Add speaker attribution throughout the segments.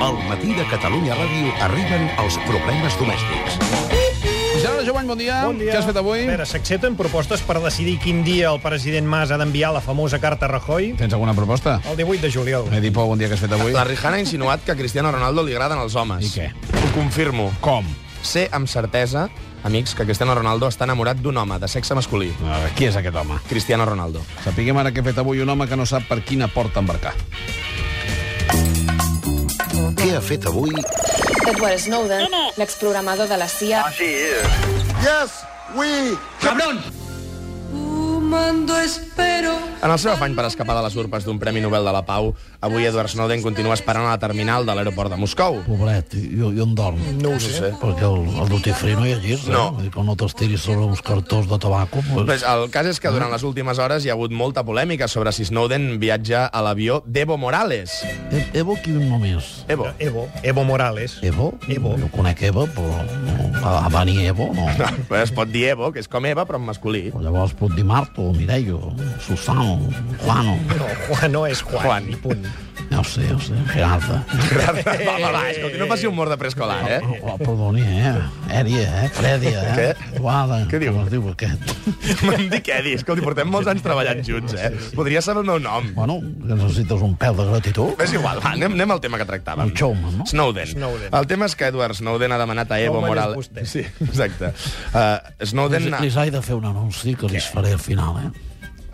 Speaker 1: Al matí de Catalunya Ràdio arriben els problemes domèstics.
Speaker 2: Gerard Jovany, bon dia.
Speaker 3: Bon dia.
Speaker 2: Què has fet avui?
Speaker 3: A veure, s'accepten propostes per decidir quin dia el president Mas ha d'enviar la famosa carta a Rajoy?
Speaker 2: Tens alguna proposta?
Speaker 3: El 18 de juliol.
Speaker 2: Edi Pou, bon dia, què has fet avui?
Speaker 4: Ah,
Speaker 5: La Rijana ha insinuat que a Cristiano Ronaldo li agraden els homes.
Speaker 2: I què?
Speaker 5: Ho confirmo.
Speaker 2: Com?
Speaker 5: Sé amb certesa, amics, que Cristiano Ronaldo està enamorat d'un home de sexe masculí.
Speaker 2: A veure, qui és aquest home?
Speaker 5: Cristiano Ronaldo.
Speaker 2: Sapiguem ara què ha fet avui un home que no sap per quina porta embarcar.
Speaker 1: Què ha fet avui?
Speaker 6: Edward Snowden, l'exprogramador de la CIA,
Speaker 5: En el seu afany per escapar de les urpes d'un Premi Nobel de la Pau, avui Edward Snowden continua esperant a la terminal de l'aeroport de Moscou.
Speaker 4: Poblet, jo, jo em dorm.
Speaker 5: No ho sé.
Speaker 4: Perquè el, el duty free no hi ha girs,
Speaker 5: No.
Speaker 4: eh? Vull dir, Com no t'estiris sobre uns cartons de tabaco, pues,
Speaker 5: Pues el cas és que durant les últimes hores hi ha hagut molta polèmica sobre si Snowden viatja a l'avió d'Evo Morales.
Speaker 4: e Evo qui només?
Speaker 5: Evo.
Speaker 3: Evo, Evo Morales.
Speaker 4: Evo?
Speaker 3: Evo.
Speaker 4: Jo conec Eva, però no, a, a Bani Evo no.
Speaker 5: No, però es pot dir Evo, que és com Eva, però en masculí.
Speaker 4: Però llavors puc dir Marto, Mireio, Susano, Juano,
Speaker 3: No, Juan no és Juan.
Speaker 5: Juan.
Speaker 3: I punt.
Speaker 4: ja ho sé, ja ho sé, Gerarda.
Speaker 5: Va, va, va, escolti, no faci humor de preescolar, eh?
Speaker 4: Oh, perdoni, eh? Èria, eh? Frèdia, eh?
Speaker 5: Què?
Speaker 4: Guada,
Speaker 5: Què diu?
Speaker 4: com es diu aquest?
Speaker 5: Em dic Edi, escolti, portem molts anys treballant junts, eh? Podria saber el meu nom.
Speaker 4: Bueno, que necessites un pèl de gratitud.
Speaker 5: És igual, va, anem, anem al tema que tractàvem.
Speaker 4: El showman, no?
Speaker 5: Snowden.
Speaker 3: Snowden.
Speaker 5: El tema és que Edward Snowden ha demanat a Evo
Speaker 3: Showman és
Speaker 5: Morales...
Speaker 3: vostè.
Speaker 5: Sí, exacte. Uh, Snowden...
Speaker 4: Li, li he de fer un anunci que li faré al final, eh?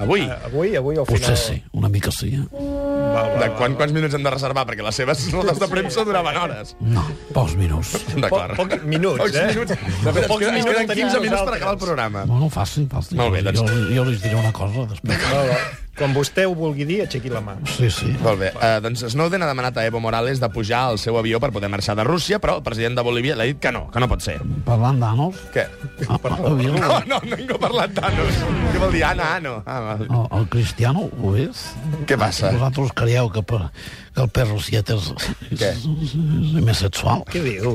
Speaker 5: Avui?
Speaker 3: Avui, avui, al final...
Speaker 4: Potser sí, una mica sí, eh?
Speaker 3: Ah, Va, va,
Speaker 5: De
Speaker 3: va.
Speaker 5: quan, quants minuts hem de reservar? Perquè les seves notes de premsa duraven hores.
Speaker 4: No, pocs minuts.
Speaker 3: Po-
Speaker 5: D'acord.
Speaker 3: Pocs minuts,
Speaker 5: Pocs
Speaker 3: eh?
Speaker 5: minuts. De fet, ens
Speaker 3: Pocs
Speaker 5: queden, ens
Speaker 3: minuts
Speaker 5: queden
Speaker 3: tenim
Speaker 5: 15 minuts per
Speaker 3: nosaltres.
Speaker 5: acabar el programa.
Speaker 4: Bueno, faci, faci.
Speaker 5: Molt bé, doncs-
Speaker 4: Jo, jo li diré una cosa després.
Speaker 3: Va, va. Quan vostè ho vulgui dir, aixequi la mà.
Speaker 4: Sí, sí.
Speaker 5: Molt bé. Uh, doncs Snowden ha demanat a Evo Morales de pujar al seu avió per poder marxar de Rússia, però el president de Bolívia l'ha dit que no, que no pot ser.
Speaker 4: Parlant Ah, d'Anos,
Speaker 5: Què?
Speaker 4: a- a- havia-
Speaker 5: No, no, no ningú ha parlat d'Anos. Què vol dir? Anna, Ano. Ah, val.
Speaker 4: el, el Cristiano, ho és?
Speaker 5: Què passa?
Speaker 4: Vosaltres creieu que, per, que el perro siet és, és,
Speaker 5: Què?
Speaker 4: és, és més sexual?
Speaker 3: Què diu?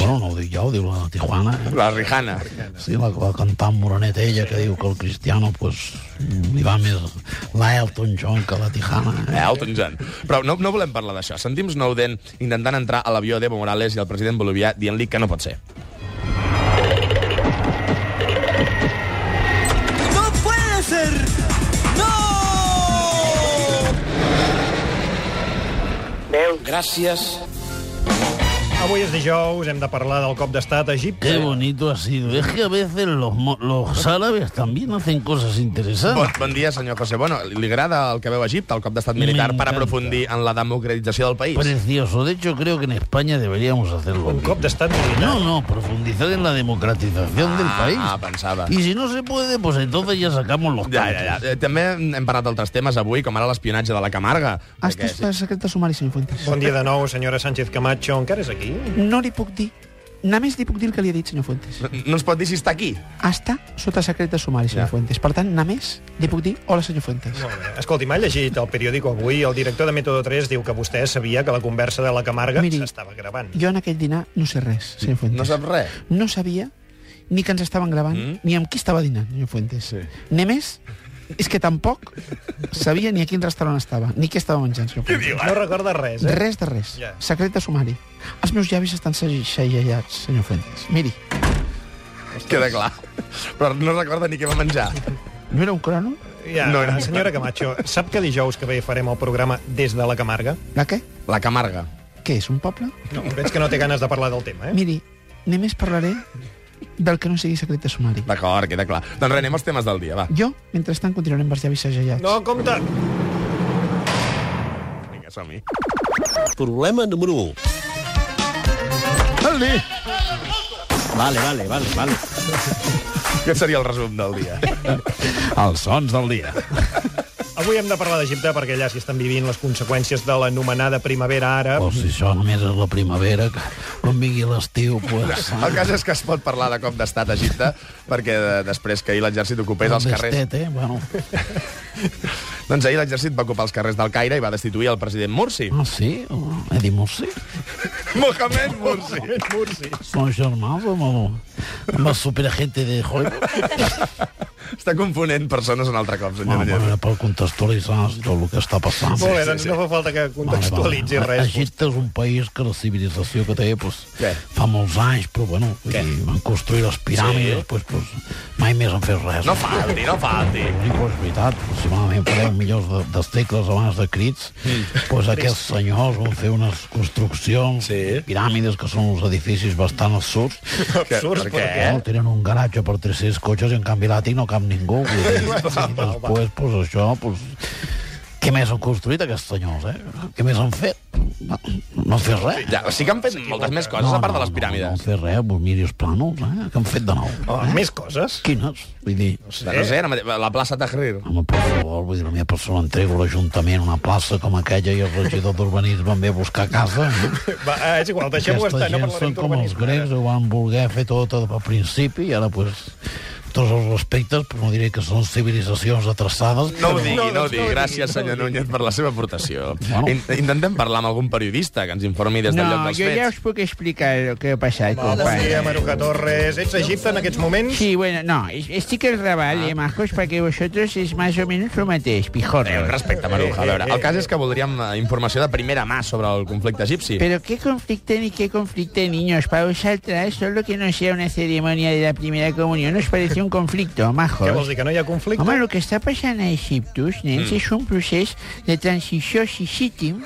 Speaker 4: Bueno, no ho dic jo, ho diu la Tijuana. eh?
Speaker 5: La Rihanna.
Speaker 4: Sí, la, la cantant moreneta ella que diu que el Cristiano pues, li va més la Elton John que la Tijana. Eh?
Speaker 5: Elton John. Però no, no volem parlar d'això. Sentim Snowden intentant entrar a l'avió d'Evo Morales i el president bolivià dient-li que no pot ser.
Speaker 7: ¡No puede ser! ¡No! Gracias.
Speaker 3: Avui és dijous, hem de parlar del cop d'estat a Egipte.
Speaker 4: Qué bonito ha sido. Es que a veces los, mo- los árabes también hacen cosas
Speaker 5: Bon,
Speaker 4: interesantes.
Speaker 5: bon dia, senyor José Bono. Li agrada el que veu a Egipte, el cop d'estat militar, per
Speaker 4: M'encanta.
Speaker 5: aprofundir en la democratització del país?
Speaker 4: Precioso. De hecho, creo que en España deberíamos hacerlo.
Speaker 3: Un cop d'estat militar.
Speaker 4: No, no, profundizar en la democratización del país.
Speaker 5: Ah, pensava.
Speaker 4: Y si no se puede, pues entonces ya sacamos los
Speaker 5: Ja, ja,
Speaker 4: tanques.
Speaker 5: ja. Eh, També hem parlat d'altres temes avui, com ara l'espionatge de la Camarga.
Speaker 8: Ah,
Speaker 9: Hasta
Speaker 5: Perquè-
Speaker 9: el secret de sumari, senyor Fuentes.
Speaker 3: Bon dia de nou, senyora Sánchez Camacho. Encara és aquí?
Speaker 9: No li puc dir. Només li puc dir el que li he dit, senyor Fuentes.
Speaker 5: No ens pot dir si està aquí.
Speaker 9: Està sota secret de sumari, senyor
Speaker 5: Ja.
Speaker 9: Fuentes. Per tant, només li puc dir hola, senyor Fuentes.
Speaker 3: Molt bé. Escolti, m'ha llegit el periòdic avui. El director de Método 3 diu que vostè sabia que la conversa de la Camarga
Speaker 9: Miri,
Speaker 3: s'estava gravant.
Speaker 9: Jo en aquell dinar no sé res, senyor Fuentes.
Speaker 5: No sap res.
Speaker 9: No sabia ni que ens estaven gravant,
Speaker 5: Mm.
Speaker 9: ni amb qui estava dinant, senyor Fuentes. Sí. Només és que tampoc sabia ni a quin restaurant estava, ni què estava menjant, senyor Fuentes.
Speaker 3: No recorda res, eh?
Speaker 9: Res de res.
Speaker 3: Ja.
Speaker 9: Secret de sumari. Els meus llavis estan segell- segellats, senyor Fuentes. Miri,
Speaker 5: Queda clar. Però no recorda ni què va menjar.
Speaker 9: no era un crono?
Speaker 3: Ja,
Speaker 5: No, no.
Speaker 3: Senyora Camacho, sap que dijous que ve farem el programa des de la Camarga?
Speaker 9: La què?
Speaker 5: La Camarga.
Speaker 9: Què és, un poble?
Speaker 3: No, veig que no té ganes de parlar del tema, eh?
Speaker 9: Miri, només parlaré del que no sigui secret de sumari.
Speaker 5: D'acord, queda clar. Doncs res, anem als temes del dia, va.
Speaker 9: Jo, mentrestant, continuaré amb els llavis segellats.
Speaker 3: No, compte!
Speaker 5: Vinga, som-hi.
Speaker 8: Problema número 1. Vale, vale, vale, vale.
Speaker 5: Aquest seria el resum del dia.
Speaker 2: Els sons del dia.
Speaker 3: Avui hem de parlar d'Egipte perquè allà s'hi estan vivint les conseqüències de l'anomenada primavera àrab.
Speaker 4: O si això només és la primavera, que quan vingui l'estiu, pues... eh,
Speaker 5: El cas és que es pot parlar de cop d'estat a Egipte perquè de, després que ahir l'exèrcit ocupés els carrers...
Speaker 4: Estet, eh? Bueno,
Speaker 5: Doncs ahir l'exèrcit va ocupar els carrers del Caire i va destituir el president Mursi.
Speaker 4: ah, sí? He dit Mursi?
Speaker 5: Mohamed Mursi.
Speaker 3: Mursi.
Speaker 4: Són germans amb, el, amb la superagente de Joy.
Speaker 5: Està confonent persones un altre cop, senyor
Speaker 4: Home,
Speaker 5: Gallego.
Speaker 4: era per contextualitzar tot el que està passant.
Speaker 3: Molt bé, doncs no fa falta que contextualitzi
Speaker 4: Vale, vale.
Speaker 3: res.
Speaker 4: Egipte és un país que la civilització que té pues,
Speaker 5: Què?
Speaker 4: fa molts anys, però bueno, vull dir, van construir les piràmides,
Speaker 5: Sí.
Speaker 4: sí. pues, pues, mai més han fet res.
Speaker 5: No falti, no falti.
Speaker 4: Sí, però és veritat, aproximadament per 10 milions de, de segles abans de crits, doncs aquests senyors van fer unes construccions,
Speaker 5: Sí.
Speaker 4: piràmides, que són uns edificis bastant absurds,
Speaker 3: Absurds,
Speaker 5: Per
Speaker 3: per
Speaker 5: què?
Speaker 3: què?
Speaker 4: no, tenen un garatge per 300 cotxes i en canvi l'àtic no cap ningú. Vull dir, I després, pues, això, pues, què més han construït aquests senyors, eh? Què més han fet? No, no han fet res.
Speaker 5: Ja, sí que han fet moltes més coses, a part de les
Speaker 4: No, no,
Speaker 5: piràmides.
Speaker 4: han fet res, pues miri els plànols, eh? Què han fet de nou?
Speaker 3: Oh,
Speaker 4: eh?
Speaker 3: Més coses?
Speaker 4: Quines? Vull dir,
Speaker 5: No sé, ara mateix, la plaça Tahrir.
Speaker 4: Home, per favor, vull dir, la meva persona entrego a l'Ajuntament una plaça com aquella i el regidor d'urbanisme em ve a buscar a casa. Eh?
Speaker 3: Va, eh, és igual, deixem-ho
Speaker 4: Aquesta
Speaker 3: estar, no
Speaker 4: gent són
Speaker 3: parlarem
Speaker 4: com els
Speaker 3: d'urbanisme.
Speaker 4: grecs, ho van voler fer tot al principi i ara, pues, tots els respectes, però no diré que són civilitzacions atrasades.
Speaker 5: No ho
Speaker 4: però-
Speaker 5: digui,
Speaker 3: No,
Speaker 5: no,
Speaker 3: doncs
Speaker 5: ho digui.
Speaker 3: no ho
Speaker 5: Gràcies,
Speaker 3: digui,
Speaker 5: senyor
Speaker 3: no ho
Speaker 5: Núñez, per la seva aportació.
Speaker 4: Bueno.
Speaker 5: In Intentem parlar amb algun periodista que ens informi des del lloc
Speaker 8: No,
Speaker 5: dels
Speaker 8: jo ja us
Speaker 5: fets.
Speaker 8: puc explicar el que ha passat,
Speaker 3: Bon dia,
Speaker 8: company.
Speaker 3: Maruja Torres. Ets a Egipte en aquests moments?
Speaker 8: Sí, bueno, no, es- estoy que os rabal, eh, majos, para que vosotros es más o menos lo matéis,
Speaker 5: Eh, un
Speaker 8: pijorros.
Speaker 5: respecte, Maruja. A veure, el cas és que voldríem eh, informació de primera mà sobre el conflicte egipci.
Speaker 8: Pero qué conflicto ni qué conflicto, niños. Para vosotras, solo que no sea una ceremonia de la primera comunión, nos parece un conflicto, majos.
Speaker 3: Què vols dir, que no hi ha conflicte?
Speaker 8: Home, el que està passant a Egiptus, nens, mm. és un procés de transició sisítim,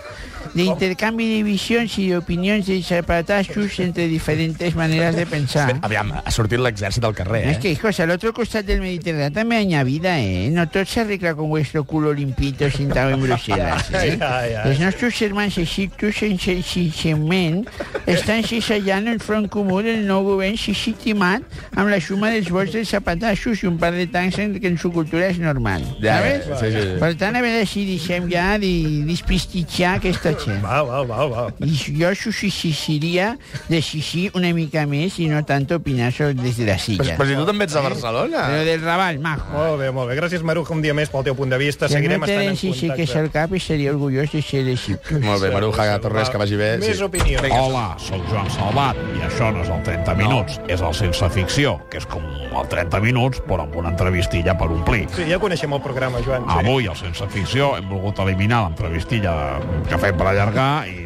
Speaker 8: d'intercanvi de visions i d'opinions de zapatassos entre diferents maneres de pensar.
Speaker 5: Aviam, ha sortit l'exèrcit al carrer,
Speaker 8: No, es
Speaker 5: eh?
Speaker 8: que, hijos, al otro costado del Mediterráneo también hay una vida, ¿eh? No todo se arregla con vuestro culo limpito sentado en Bruselas, ¿eh?
Speaker 3: Ya, ya.
Speaker 8: Los nuestros hermanos egipcios en Xixixemen estan cisellant el front comú del nou govern xixitimat amb la suma dels vots dels zapatassos i un par de tancs en que en su cultura és normal.
Speaker 5: Ja, eh,
Speaker 8: sabes?
Speaker 5: sí, sí, sí.
Speaker 8: Per tant, a veure si deixem ja de desprestigiar aquesta gent.
Speaker 3: Va, va, va, va.
Speaker 8: I jo susciciria de xixir una mica més i no tant opinar sobre des de la
Speaker 5: Però,
Speaker 8: silla.
Speaker 5: però si tu també ets a Barcelona.
Speaker 8: Però del Raval, majo.
Speaker 3: Molt bé, molt bé. Gràcies, Maruja, un dia més pel teu punt de vista.
Speaker 8: Que no
Speaker 3: Seguirem estant
Speaker 8: tenen
Speaker 3: en
Speaker 8: si sé que és
Speaker 3: contacte.
Speaker 8: el cap i seria orgullós de ser d'Egipte.
Speaker 5: Molt bé, Maruja Torres, que vagi bé.
Speaker 3: Més opinions.
Speaker 5: Hola.
Speaker 10: Soc Joan Salvat i això no és el 30 Minuts, és el Sense Ficció, que és com el 30 Minuts, però amb una entrevistilla per omplir.
Speaker 3: Sí, ja coneixem el programa, Joan. Sí.
Speaker 10: Avui, al Sense Ficció, hem volgut eliminar l'entrevistilla que fem per allargar i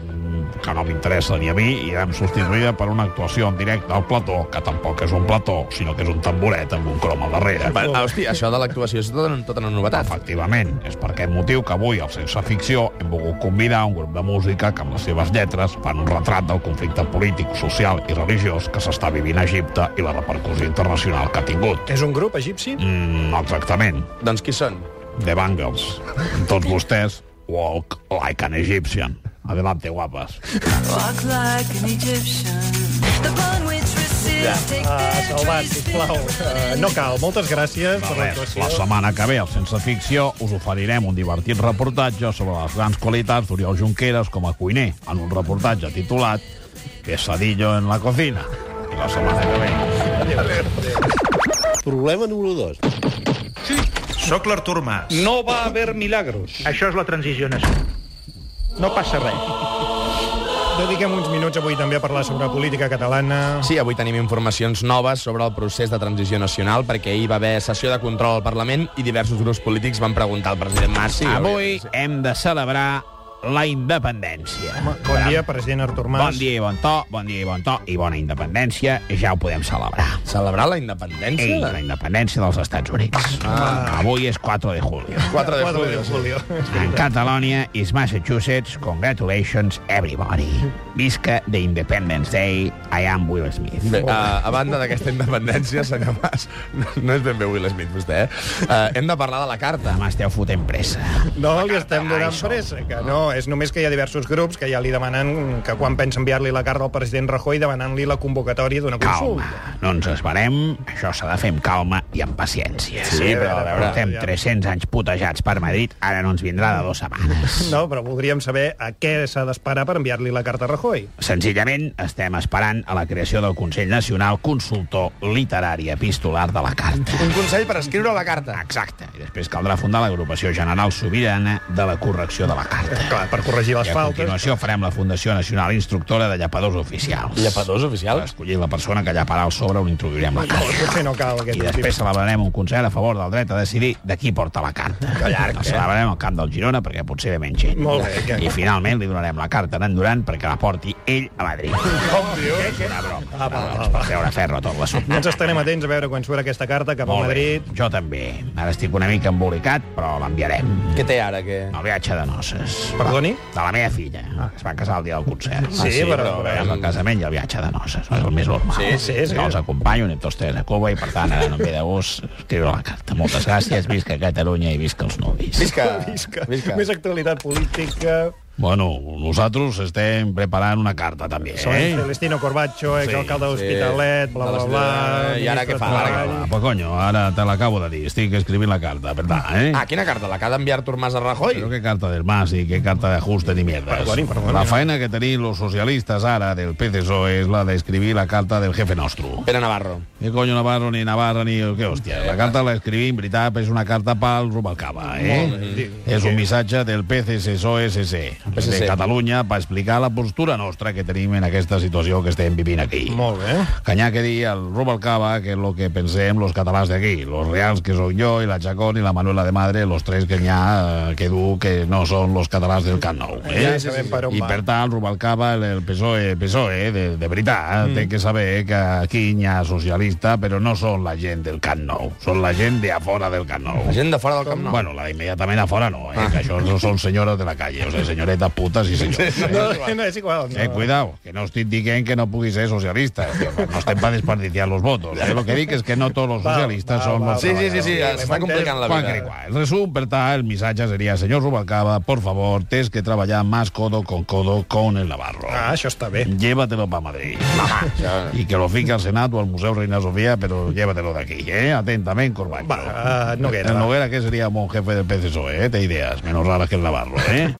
Speaker 10: que no m'interessa ni a mi, i l'hem substituïda per una actuació en directe al plató, que tampoc és un plató, sinó que és un tamboret amb un crom al darrere.
Speaker 5: Va, ah, hosti, això de l'actuació és tota, tota una novetat.
Speaker 10: Efectivament, és per aquest motiu que avui, al Sense Ficció, hem volgut convidar un grup de música que amb les seves lletres fan un retrat del conflicte polític, social i religiós que s'està vivint a Egipte i la repercussió internacional que ha tingut.
Speaker 3: És un grup egipci?
Speaker 10: Mm, exactament,
Speaker 5: Doncs qui són?
Speaker 10: The Bangles. Tots vostès, walk like an Egyptian. Adelante, guapes.
Speaker 11: Walk like an Egyptian. The bone which resists take
Speaker 3: Ah,
Speaker 11: their
Speaker 3: Salvat,
Speaker 11: choice
Speaker 3: sisplau. Uh, no cal. Moltes gràcies per
Speaker 10: Res, la
Speaker 3: l'actuació.
Speaker 10: setmana que ve, al Sense Ficció, us oferirem un divertit reportatge sobre les grans qualitats d'Oriol Junqueras com a cuiner, en un reportatge titulat Pesadillo en la cocina. I la setmana que ve...
Speaker 4: Problema número 2.
Speaker 12: Soc l'Artur Mas. No va haver milagros. Això és la transició nacional. No passa res.
Speaker 3: Dediquem uns minuts avui també a parlar sobre política catalana.
Speaker 5: Sí, avui tenim informacions noves sobre el procés de transició nacional, perquè ahir va haver sessió de control al Parlament i diversos grups polítics van preguntar al president Mas si...
Speaker 12: Avui hem de celebrar la independència.
Speaker 3: Bon dia, president Artur Mas.
Speaker 12: Bon dia i bon to, bon dia i bon to i bona independència, ja ho podem celebrar.
Speaker 5: Celebrar la
Speaker 12: Ei,
Speaker 5: independència?
Speaker 12: la independència dels Estats Units.
Speaker 3: Ah.
Speaker 12: Avui és 4 de julio.
Speaker 5: 4 de
Speaker 3: 4 de
Speaker 5: julio.
Speaker 3: julio.
Speaker 12: En Catalonia is Massachusetts, congratulations everybody. Visca the Independence Day, I am Will Smith.
Speaker 5: Bé, ah. a, a banda d'aquesta independència, senyor Mas, no, no és ben bé Will Smith, vostè, eh? Uh, hem de parlar de la carta.
Speaker 12: Demà esteu fotent pressa.
Speaker 3: No li estem donant
Speaker 12: Això.
Speaker 3: pressa, que no. És només que hi ha diversos grups que ja li demanen que quan pensa enviar-li la carta al president Rajoy demanant-li la convocatòria d'una
Speaker 12: Calma,
Speaker 3: consulta.
Speaker 12: no ens esvarem, això s'ha de fer amb calma i amb paciència.
Speaker 5: Sí, però, a veure,
Speaker 12: Portem
Speaker 3: ja.
Speaker 12: 300 anys putejats per Madrid, ara no ens vindrà de dues setmanes.
Speaker 3: No, però voldríem saber a què s'ha d'esperar per enviar-li la carta a Rajoy.
Speaker 12: Senzillament estem esperant a la creació del Consell Nacional Consultor Literari Epistolar de la Carta.
Speaker 5: Un consell per escriure la carta.
Speaker 12: Exacte. I després caldrà fundar l'agrupació general sobirana de la correcció de la Carta.
Speaker 3: Clar, per corregir les
Speaker 8: I a
Speaker 3: faltes.
Speaker 8: continuació farem la Fundació Nacional Instructora de Llapadors Oficials.
Speaker 5: Llapadors oficials?
Speaker 8: Escollint la persona que llaparà el sobre on introduirem la carta.
Speaker 3: Potser no cal
Speaker 8: I
Speaker 3: aquest
Speaker 8: després celebrarem un concert a favor del dret a decidir de qui porta la carta. Que llarg, el celebrarem al camp del Girona perquè potser ve menys gent.
Speaker 3: eh? Molt bé, que-
Speaker 8: I finalment li donarem la carta a en Durant perquè la porti ell a Madrid. Com dius? Una broma.
Speaker 3: Ah, va, va,
Speaker 8: Ens per
Speaker 3: va.
Speaker 8: treure ferro a tot l'assumpte.
Speaker 3: Ens estarem atents a veure quan surt aquesta carta cap a
Speaker 8: Molt bé,
Speaker 3: Madrid.
Speaker 8: jo també. Ara estic una mica embolicat, però l'enviarem.
Speaker 5: Què Ah, té ara, que...
Speaker 8: El viatge de noces.
Speaker 3: Perdoni?
Speaker 8: De la meva filla. que Es va casar el dia del concert.
Speaker 3: Ah. Sí, però-
Speaker 8: Amb el casament i el viatge de noces. No és el més normal.
Speaker 3: Sí, sí, sí.
Speaker 8: Jo els acompanyo, anem tots tres a Cuba, i per tant ara no em ve de gust escriure la carta. Moltes gràcies, visca Catalunya i visca els nuvis.
Speaker 5: Visca!
Speaker 3: Visca.
Speaker 5: Ah, Visca.
Speaker 3: Més actualitat política.
Speaker 8: Bueno, nosaltres estem preparant una carta també, eh?
Speaker 3: Sobre Celestino Corbacho,
Speaker 8: Sí,
Speaker 3: exalcalde
Speaker 5: sí.
Speaker 3: d'Hospitalet, bla, bla,
Speaker 5: De
Speaker 3: bla.
Speaker 5: l'Hospitalet. I ara
Speaker 3: ministre
Speaker 5: què fa?
Speaker 3: de
Speaker 5: Ara què
Speaker 3: Treball.
Speaker 8: Ah, pues coño, ara te l'acabo de dir. Estic escrivint la carta, verdad, eh?
Speaker 5: Ah, quina carta? La que ha d'enviar Artur Mas a Rajoy?
Speaker 8: Però què carta del Mas i què carta d'ajuste ni mierdes.
Speaker 3: Perdoni, perdoni.
Speaker 8: La faena que tenim los socialistes ara del PCSOE és la d'escrivir la carta del jefe nostro.
Speaker 5: Pere Navarro.
Speaker 8: Ni coño Navarro, ni Navarra, ni... Què hòstia? La carta la escriví, en veritat, és una carta pel Rubalcaba, eh? És un missatge del PCSOE-SC, de
Speaker 5: PCC.
Speaker 8: Catalunya, per explicar la postura nostra que tenim en aquesta situació que estem vivint aquí.
Speaker 3: Molt bé.
Speaker 8: Canyà que dir al Rubalcaba que és lo que pensem los catalans d'aquí, los reals que sóc jo i la Chacón i la Manuela de Madre, los tres que n'hi ha eh, que du que no són los catalans del Camp Nou. Eh?
Speaker 3: Ja sabem per on
Speaker 8: I
Speaker 3: va.
Speaker 8: per tant, Rubalcaba, el- el PSOE, PSOE de, de veritat, mm. té que saber que aquí n'hi ha socialista, però no són la gent del Camp Nou, són la gent de a fora del Camp Nou.
Speaker 5: La gent Ah. de fora del Camp Nou.
Speaker 8: Bueno, la d'inmediatament a fora no, eh? que això no són senyores de la calle, o sigui, senyoretes putes i senyors. Eh?
Speaker 3: No, no, és igual.
Speaker 8: Eh,
Speaker 3: No.
Speaker 8: cuidado, que no estic dient que no pugui ser socialista. que No estem per desperdiciar los votos. Eh? Lo que dic és que no tots els
Speaker 3: Val,
Speaker 8: socialistes
Speaker 3: val,
Speaker 8: són
Speaker 3: val.
Speaker 8: els
Speaker 5: Sí, sí, sí, sí,
Speaker 3: Ja
Speaker 5: està
Speaker 3: m'he
Speaker 5: complicant la
Speaker 8: Juan
Speaker 5: vida.
Speaker 8: Cricua. El resum, per tant, el missatge seria, senyor Rubalcaba, por favor, tens que treballar más codo con codo con el Navarro.
Speaker 3: Ah, això està bé.
Speaker 8: Llévatelo pa Madrid. I que lo fica al Senat o al Museu Reina Sofia, però llévatelo d'aquí, eh? Atentament, Corbacho.
Speaker 3: Va, eh, Noguera,
Speaker 8: El
Speaker 3: va.
Speaker 8: E, Noguera, que sería mon jefe del PCSOE, eh? Té idees, menos raras que el Navarro, eh?